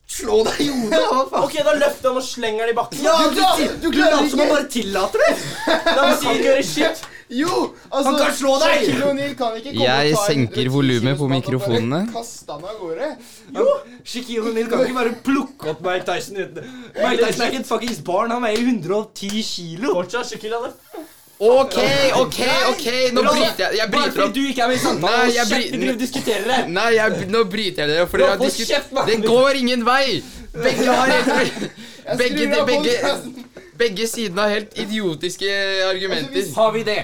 Slå deg i hodet! Hva faen?
Ok, da løfter han og slenger han i bakken.
Ja,
Du
du,
klarer-
til-
du
du
klarer
later som han
ikke.
bare tillater det!
Da kan ikke gjøre shit.
Jo! Altså,
kan slå deg!
Shaquille O'Neal kan ikke komme
Jeg
og ta en
senker
110
volumet på
kilos mann og bare
mikrofonene.
kaste han av gårde.
Jo! Shaquille O'Neal kan ikke bare plukke opp Mike Tyson uten Mike Tyson er ikke et fuckings barn. Han veier 110 kilo.
Fortsatt Shaquille hadde
OK, OK, OK! Nå
Men altså,
bryter jeg Jeg
Bare
bryter
fordi
opp.
du ikke er med i samtalen,
Nei,
hold
jeg
kjeft!
bry-
Vi driver og diskuterer det.
Nei, jeg, nå bryter jeg dere. For dere har
Hold
diskut-
kjeft, mann!
Det går ingen vei! Begge har helt Begge,
skrur av
begge,
podcasten.
begge sidene har helt idiotiske
Altså,
argumenter.
Har vi det?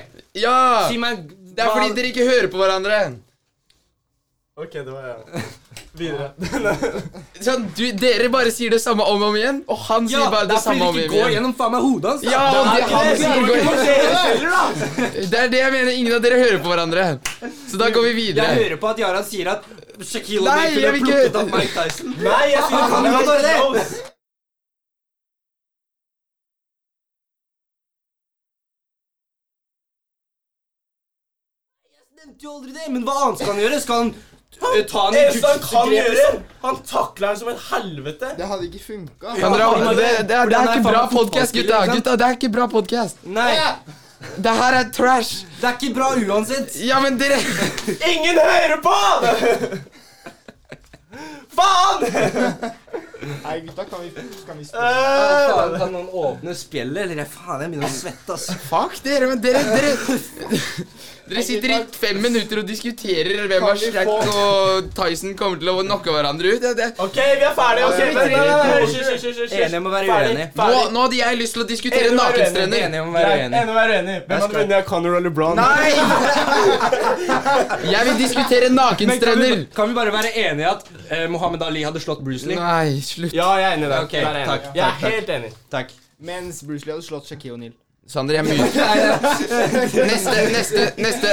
Ja!
Si meg
Det er fordi dere ikke hører på hverandre.
Ok, det var jeg. Videre.
Sånn, du, dere bare sier det samme om og om igjen, og han
Ja,
sier bare
det
det
er fordi
samme
det
om
ikke
og om
går
igjen.
gjennom faen meg hodet hans. da.
Ja, og det, han
det
sier går
ikke
gjennom.
dere heller, da.
Det er det jeg mener. Ingen av dere hører på hverandre. Så da går vi
Jeg
videre.
hører på at Jaran sier at Shaquille
Nei,
O'Neal kunne
jeg vil ikke-
plukket opp Mike Tyson. Ah,
Nei, jeg sier
Han
det
kan
var
bare det.
close.
Nevnte jo aldri det, men hva annet skal han gjøre? Skal han eh, ta han
Det
i
eneste han kan
jujutsu-grep,
gjøre,
liksom?
han takler han som et helvete.
Det hadde ikke funka.
Kan dere, ha- det, det, er- det er ikke bra podkast, gutta. Gutta, det er ikke bra podkast.
Nei,
Det her er trash.
det er ikke bra uansett.
Ja, men dere
Ingen hører på! Faen! Eh,
Nei, gutta, kan vi, kan vi spørre?
Faen, kan noen åpne spjeldet, eller jeg, faen, jeg begynner å svette, ass.
Fuck dere, men dere Dere, dere sitter i fem minutter og diskuterer hvem av Shrek og Tyson kommer til å knocke hverandre ut. Det, det.
Ok, vi er ferdige. ok,
Ja,
vent,
ja,
nei, nei, nei,
ja.
hysj, hysj, hysj, hysj.
Enige om å være
Ferdig,
uenige.
Nå,
ferdig.
nå hadde jeg lyst til å diskutere
Enig, være
nakenstrender.
Enig om å være
Greit,
uenig.
Enig å være uenig. Hvem hadde
skal-
vunnet, Conor eller LeBron?
Nei! Jeg vil
Men
diskutere
kan vi,
nakenstrender.
kan vi bare være enige at eh, Mohammed Ali hadde slått Bruce Lee?
Nei, slutt.
Ja, jeg er enig i det.
Ok,
Der er jeg enig.
takk,
Jeg
takk,
er
takk.
helt enig.
Takk.
Mens Bruce Lee hadde slått Shaquille O'Neal.
Sander, jeg muter. Neste, neste, neste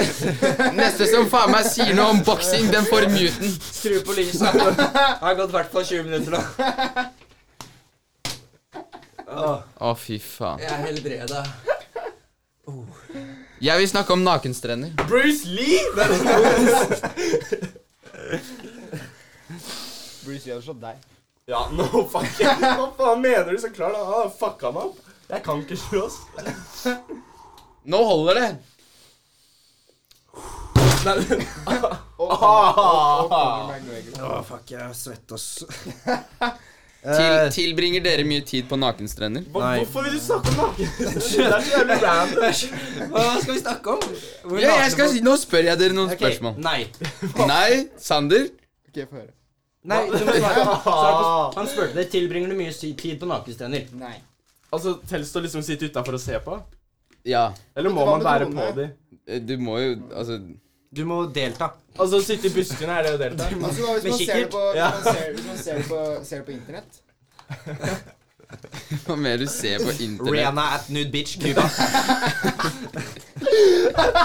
Neste som faen meg sier noe om boksing, den får muten.
Skru på lyset. Det har gått i hvert fall 20 minutter nå. Åh,
Å, fy faen.
jeg er helbreda.
Jeg vil snakke om nakenstrender.
Bruce Lee?
Bruce Lee hadde slått deg.
Ja, no fucking. Hva faen mener du så klart? Han har fucka meg opp. Jeg kan ikke slåss.
Nå holder det.
Og Conor- og Conor McGregor.
Ah.
Å, fuck, jeg er svett, ass.
Til,
Eh,
tilbringer dere mye tid på nakenstrender?
Hva-
Nei.
Hvorfor vil du snakke om naken? det er så jævlig random.
Hva skal vi snakke om? Hvor
Ja, jeg
nakne
skal,
folk-
si- nå spør jeg dere noen
Ok,
spørsmål.
Nei.
Nei, Sander?
Ok, få høre.
Nei, du må svare på- svare på- Han spurte deg tilbringer du mye si- tid på nakenstrender.
Nei.
Altså, Telles det å liksom sitte utenfor og se på?
Ja.
Eller må
Hva
man
med
være på
droner?
de?
Du må jo Altså
Du må delta.
Altså, sitte i buskene, er det å delta?
Altså, da,
Med
hvis man ser det
kikkert?
på, hvis
Ja.
man ser, hvis man ser det på, ser det på internett
Hva mer du ser på internett?
Rihanna at nude bitch Cuba.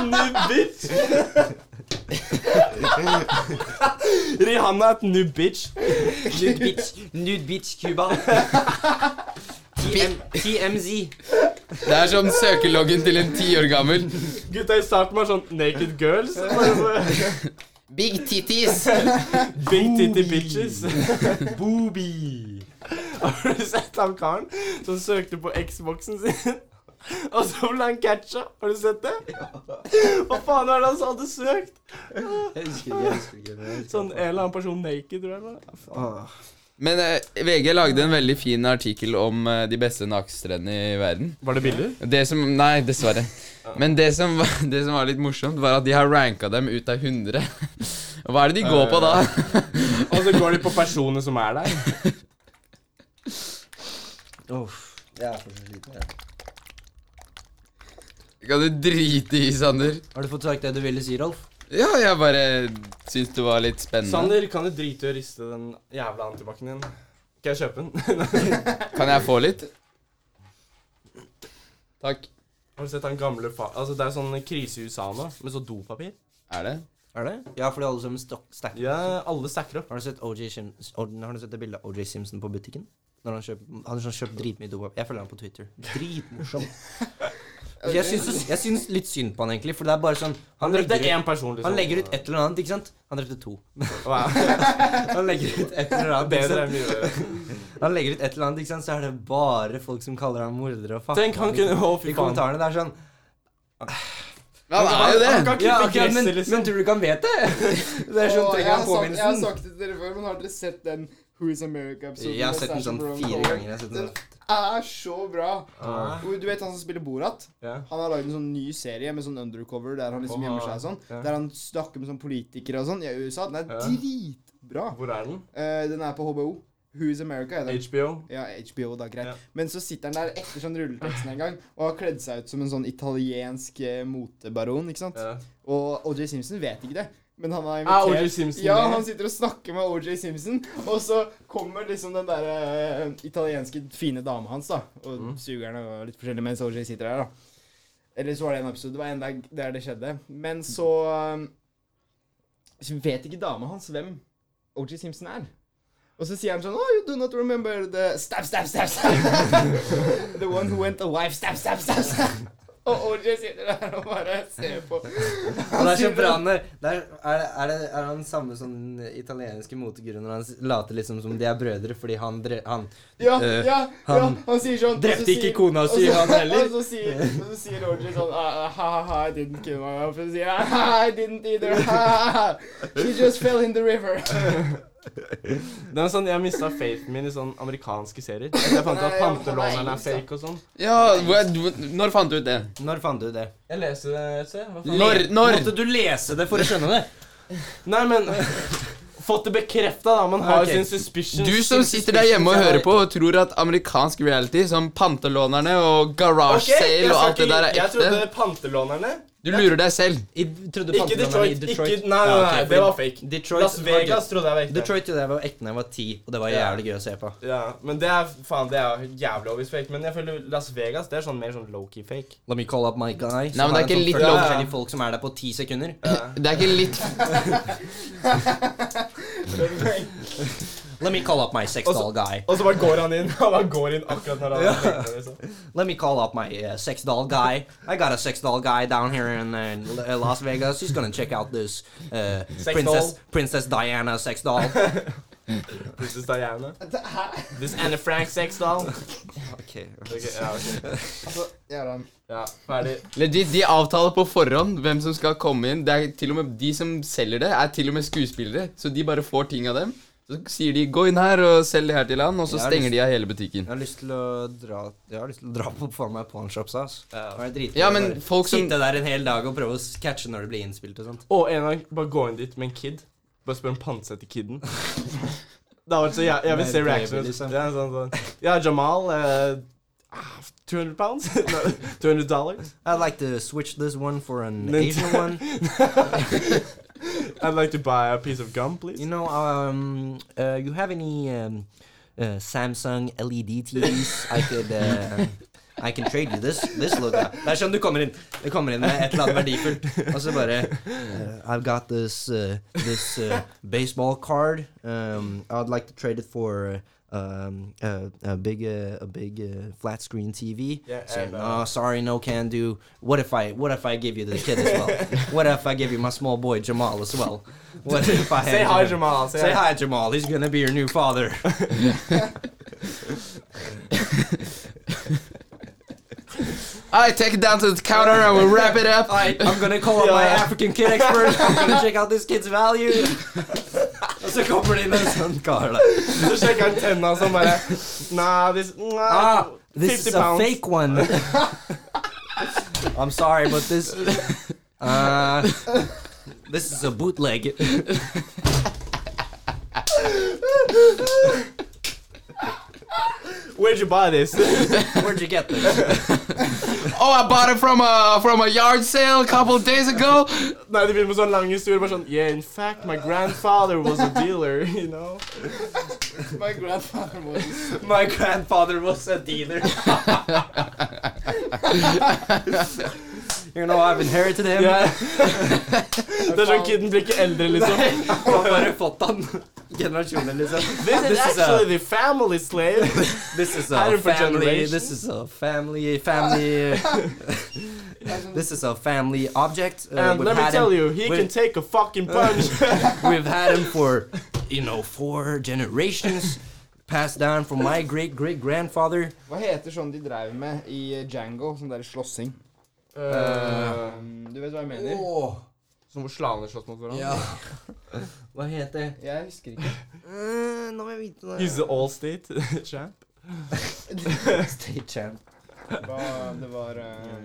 Nubbitch! Rihanna er et nubbitch.
Nude bitch, nude bitch Cuba. TM, TMZ.
Det er som søkeloggen til en ti år gammel.
Gutta i starten var sånn naked girls. bare så-
Big titties!
Big titty bitches. Booby. Har du sett han karen som søkte på Xboxen sin? Og så ble han catcha. Har du sett det? Hva faen var det han sa hadde søkt?
Jeg husker ikke, jeg husker ikke. men jeg husker
Sånn
det.
en eller annen person naked, tror jeg. det var.
Åh.
Men eh, VG lagde en veldig fin artikkel om eh, de beste nakenstrendene i verden.
Var det bilder?
Det som Nei, dessverre. Men det som, var- det som var litt morsomt, var at de har ranka dem ut av 100. Hva er det de går på da?
Og så går de på personene som er der.
Uff. Jeg er fortsatt sliten. jeg.
Kan du drite i, Sander?
Har du fått sagt det du ville si, Rolf?
Ja, jeg bare syns det var litt spennende.
Sander, kan du drite i å riste den jævla antibac-en din? Kan jeg kjøpe den?
Kan jeg få litt? Takk.
Har du sett den gamle fa... Altså, det er sånn krise i USA nå, med så dopapir.
Er det?
Er det? Ja, fordi alle sammen stok- stacker.
Ja, alle stacker opp.
Har du sett OJ Sims- Or- Har du sett det bildet av OJ Simpson på butikken? Når han kjøper Han har sånn kjøpt dritmye dopapir. Jeg følger han på Twitter. Dritmorsom. Jeg syns, jeg syns litt synd på han, egentlig, for det er bare sånn Han
Det er
legger ut,
én person, liksom.
han legger ut et eller annet, ikke sant? Han drepte to.
Wow.
Han legger ut et eller annet, ikke sant?
Bedre enn mye.
Han legger ut et eller annet, ikke sant? så er det bare folk som kaller ham morder og fuck.
Tenk, han kunne Å,
I
fy faen.
kommentarene der sånn
Ja, det er jo
Han
det.
kan klippe
Ja, ok,
gresset,
men,
liksom.
men tror du ikke han vet det? Det er sånn
Åh, jeg
trenger han
har sagt- Jeg har
påminnelsen.
sagt det til dere før, men har dere sett den Who is America-episoden?
Jeg har
med
sett den
Sacha
sånn
Baron
fire
Cohen?
ganger. Jeg har sett den
Den
sånn.
er så bra.
Ah.
Og Du vet han som spiller Borat?
Ja.
Han har lagd en sånn ny serie med sånn undercover der han liksom
Åh,
gjemmer seg og sånn.
ja.
Der han snakker med sånn politikere og sånn i USA. Den er
Ja.
dritbra.
Hvor er den?
Eh, den er på HBO. Who is America? Er den.
HBO.
Ja, HBO, da, greit.
Ja.
Men så sitter han der etter sånn rulleteksten en gang og har kledd seg ut som en sånn italiensk eh, motebaron, ikke sant?
Ja.
Og OJ Simpson vet ikke det. Men han
Er
har invitert
O.J. Simpson
Ja,
med?
han sitter og snakker med OJ Simpson, og så kommer liksom den der eh, italienske fine dama hans, da. Og sugerne og litt forskjellig mens OJ sitter der, da. Eller så var det en episode, det var en dag der det skjedde. Men så eh, så vet ikke dama hans hvem OJ Simpson er. Og så sier han sånn Oh, you do not remember the Stab, stab, stab, stab. the one who went a wife. Stab, stab, stab, stab. Og OJ sitter der og bare ser på.
Det er så bra han er, det er, er, det- er, det- er han samme som den italienske moteguruen når han s- later liksom som de er brødre fordi han, dre, han
Ja,
Eh,
ja, ja,
han
han sier sånn og så
drepte ikke
sier-
kona si,
og så-
han heller.
Og så sier, og så sier Roger sånn ah, ah, ha, ha, I didn't kill my wife. Og så sier han I didn't either. Ha, ha, ha. She just fell in the river.
Det er sånn, Jeg mista faithen min i sånn amerikanske serier. Jeg fant ut at
Nei, han er
pantelåneren er
engelsk, da.
fake og sånn.
Ja, hvor- Når fant du ut det?
Når fant du det?
Jeg leser det et sted. Hva faen?
Når? når?
Måtte du lese det for å skjønne det?
Nei, men Fått det bekrefta, da. Man har jo
Ok.
sin suspicion.
Du som sitter der hjemme og hører på og tror at amerikansk reality som Pantelånerne og Garage Sale og alt det der er
Jeg trodde
ekte,
pantelånerne
du lurer deg selv.
I, trodde
Ikke
pantelånerne i
Detroit.
Detroit.
Ikke, nei, nei,
Ja,
nei,
ok,
det var
fordi
fake.
Detroit
Las
var
Vegas trodde jeg var
gøy.
ekte.
Detroit trodde jeg var ekte da jeg var ti, og det var
Ja.
jævlig gøy å se på.
Ja, men det er faen, det er jævlig obvious fake. Men jeg føler Las Vegas det er sånn mer sånn low-key fake.
La meg call up my guy.
Nei, men det er ikke litt
lov
lov-
sånn forskjellige folk som er der på ti sekunder.
Det er ikke litt
Let me call up my sex doll guy.
Og så bare går han inn. Han bare går inn akkurat når han har tenkt det, liksom.
Let me call up my uh, sex doll guy. I got a sex doll guy down here in uh, L- Las Vegas. He's gonna check out this uh,
Sex
princess
doll.
Princess Diana sex doll.
Princess Diana. This Anne Frank sex doll.
okay.
Ok, ja, ok.
Altså, jævla.
ja, ferdig.
Legit, de avtaler på forhånd hvem som skal komme inn. Det er til og med De som selger det, er til og med skuespillere, så de bare får ting av dem. Så sier de 'gå inn her og selg det her til han', og så
Jeg har
stenger
lyst-
de av hele butikken.
Jeg har lyst til å dra Jeg har lyst til å dra på faen meg pawnshops, ass. Det er dritgøy
Ja,
å
men
bare
folk som
Sitte der en hel dag og prøve å catche når det blir innspilt og sånt.
Og en gang bare gå inn dit med en kid. Bare spør om pantsett til kiden. Det har vært så jeg, jeg vil se
Mer baby,
reactionen.
liksom.
Ja, sånn, sånn. ja, Jamal eh, ah, 200 pounds? Nei, 200 dollars?
I'd like to switch this one for an
Men-
Asian one.
I'd like to buy a piece of gum,
You
please.
know, um, uh, you have any um, uh, Samsung LED TVs? I could uh, I can trade you this this look. Det er sånn du kommer inn Du kommer inn med et eller annet verdifullt, og så bare uh, I've got this uh, this uh, baseball card. Um, I'd like to trade it for uh, um, uh, a big uh, a big uh, flat screen TV.
Yeah,
So,
and,
no,
uh,
sorry, no can do. What if I what if I give you the kid as well? what if I give you my small boy Jamal as well? What if I
Say
hand
hi,
him-
Jamal. Say,
Say hi,
hi.
Jamal. He's gonna be your new father.
I take it down to the counter and we'll wrap it up.
I'm gonna call up my
Yeah.
African kid expert. I'm gonna check out this kid's value. Og så kommer det inn en sånn kar da.
Så sjekker han tenna sånn bare Nah, this, nah,
Ah, this
50
is a
pounds.
fake one. I'm sorry, but this, uh, this is a bootleg.
Where'd you buy this?
Where'd you get this?
Oh, I bought it from a from a yard sale a couple days ago.
Nei, det begynner med sånn lang historie. Bare sånn Yeah, in fact, my grandfather was a dealer, you know.
My grandfather was
My grandfather was a dealer. you know, I've inherited him.
Yeah. Det er sånn kiden blir ikke eldre, liksom.
Han har bare fått han. Generasjoner, liksom.
This is
This is a-
actually the family slave.
This is
Iron
a
for
family.
generation.
This is a family. Family. this is a family object. Uh,
And let me tell
him,
you, he
we've-
can take a fucking punch.
We've had him for, you know, four generations, passed down from my great great grandfather.
Hva heter sånn de dreiv med i Django? Sånn der slåssing. Um, du vet hva jeg mener?
Oh,
Eh. Som hvor slavene slåss mot hverandre?
Hva heter det?
Jeg husker ikke.
Eh, Nå må jeg vite
He's the all state champ.
State champ.
Hva det var eh,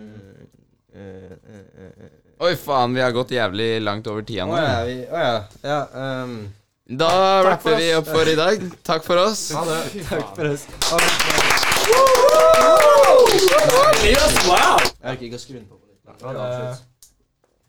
Uh,
Oi, faen, vi har gått jævlig langt over tida
Å
nå.
ja. vi- Å ja. ja um,
Da rapper vi opp for i dag. Takk for oss.
ha det. Takk for oss. Ha det.
Elias, wow!
Jeg orker ikke å skru den på.
det-